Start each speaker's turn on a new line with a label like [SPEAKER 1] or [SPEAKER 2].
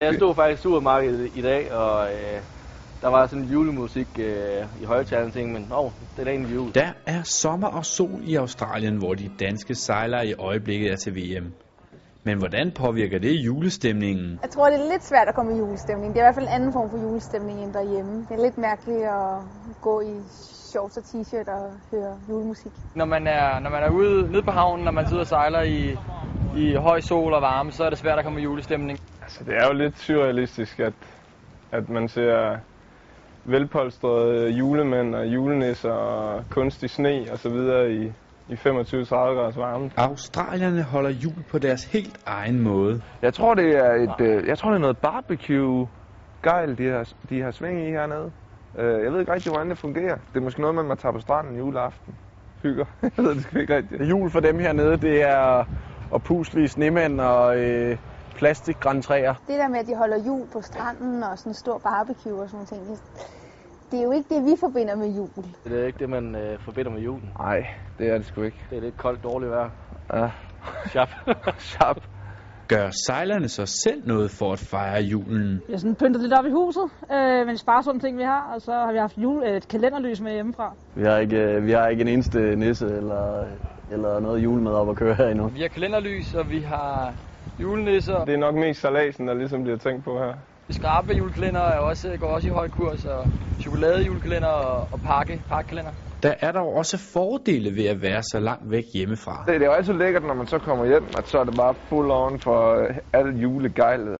[SPEAKER 1] Jeg stod faktisk i supermarkedet i dag, og øh, der var sådan julemusik øh, i højtalerne, og tænkte, men åh, det er da egentlig jul.
[SPEAKER 2] Der er sommer og sol i Australien, hvor de danske sejlere i øjeblikket er til VM. Men hvordan påvirker det julestemningen?
[SPEAKER 3] Jeg tror, det er lidt svært at komme i julestemning. Det er i hvert fald en anden form for julestemning end derhjemme. Det er lidt mærkeligt at gå i shorts og t-shirt og høre julemusik.
[SPEAKER 4] Når man er, når man er ude nede på havnen, når man sidder og sejler i, i høj sol og varme, så er det svært at komme i julestemning.
[SPEAKER 5] Altså, det er jo lidt surrealistisk, at, at man ser velpolstrede julemænd og julenisser og kunstig sne og så videre i, i 25-30 graders varme.
[SPEAKER 2] Australierne holder jul på deres helt egen måde.
[SPEAKER 6] Jeg tror, det er,
[SPEAKER 7] Ah.
[SPEAKER 6] et, øh, jeg tror, det er noget barbecue-gejl, de har, de har sving i hernede. Øh, jeg ved ikke rigtig, hvordan det fungerer. Det er måske noget, man må tage på stranden juleaften. Hygger. jeg ved det sgu ikke rigtigt.
[SPEAKER 7] Jul for dem hernede, det er at pusle i snemænd og øh, plastikgrantræer.
[SPEAKER 3] Det der med, at de holder jul på stranden og sådan en stor barbecue og sådan nogle ting, det- det er jo ikke det, vi forbinder med jul.
[SPEAKER 1] Det er ikke det, man øh, forbinder med julen.
[SPEAKER 6] Nej, det er det sgu ikke.
[SPEAKER 1] Det er lidt koldt, dårligt vejr.
[SPEAKER 6] Ja.
[SPEAKER 1] Sjap.
[SPEAKER 6] Sharp.
[SPEAKER 2] Gør sejlerne så selv noget for at fejre julen?
[SPEAKER 8] Vi har sådan pyntet lidt op i huset, øh, med de sparsomme ting, vi har, og så har vi haft jule, øh, et kalenderlys med hjemmefra.
[SPEAKER 9] Vi har ikke, øh, vi har ikke en eneste nisse eller, eller noget julemad op at køre her endnu.
[SPEAKER 4] Vi har kalenderlys, og vi har julenisser.
[SPEAKER 5] Det er nok mest salasen, der ligesom bliver tænkt på her.
[SPEAKER 4] Skrabe julekalender er også, går også i høj kurs, og chokolade julekalender og, og pakke, pakkekalender.
[SPEAKER 2] Der er dog også fordele ved at være så langt væk hjemmefra.
[SPEAKER 6] Det, det er jo altid lækkert, når man så kommer hjem, at så er det bare full on for øh, alt julegejlet.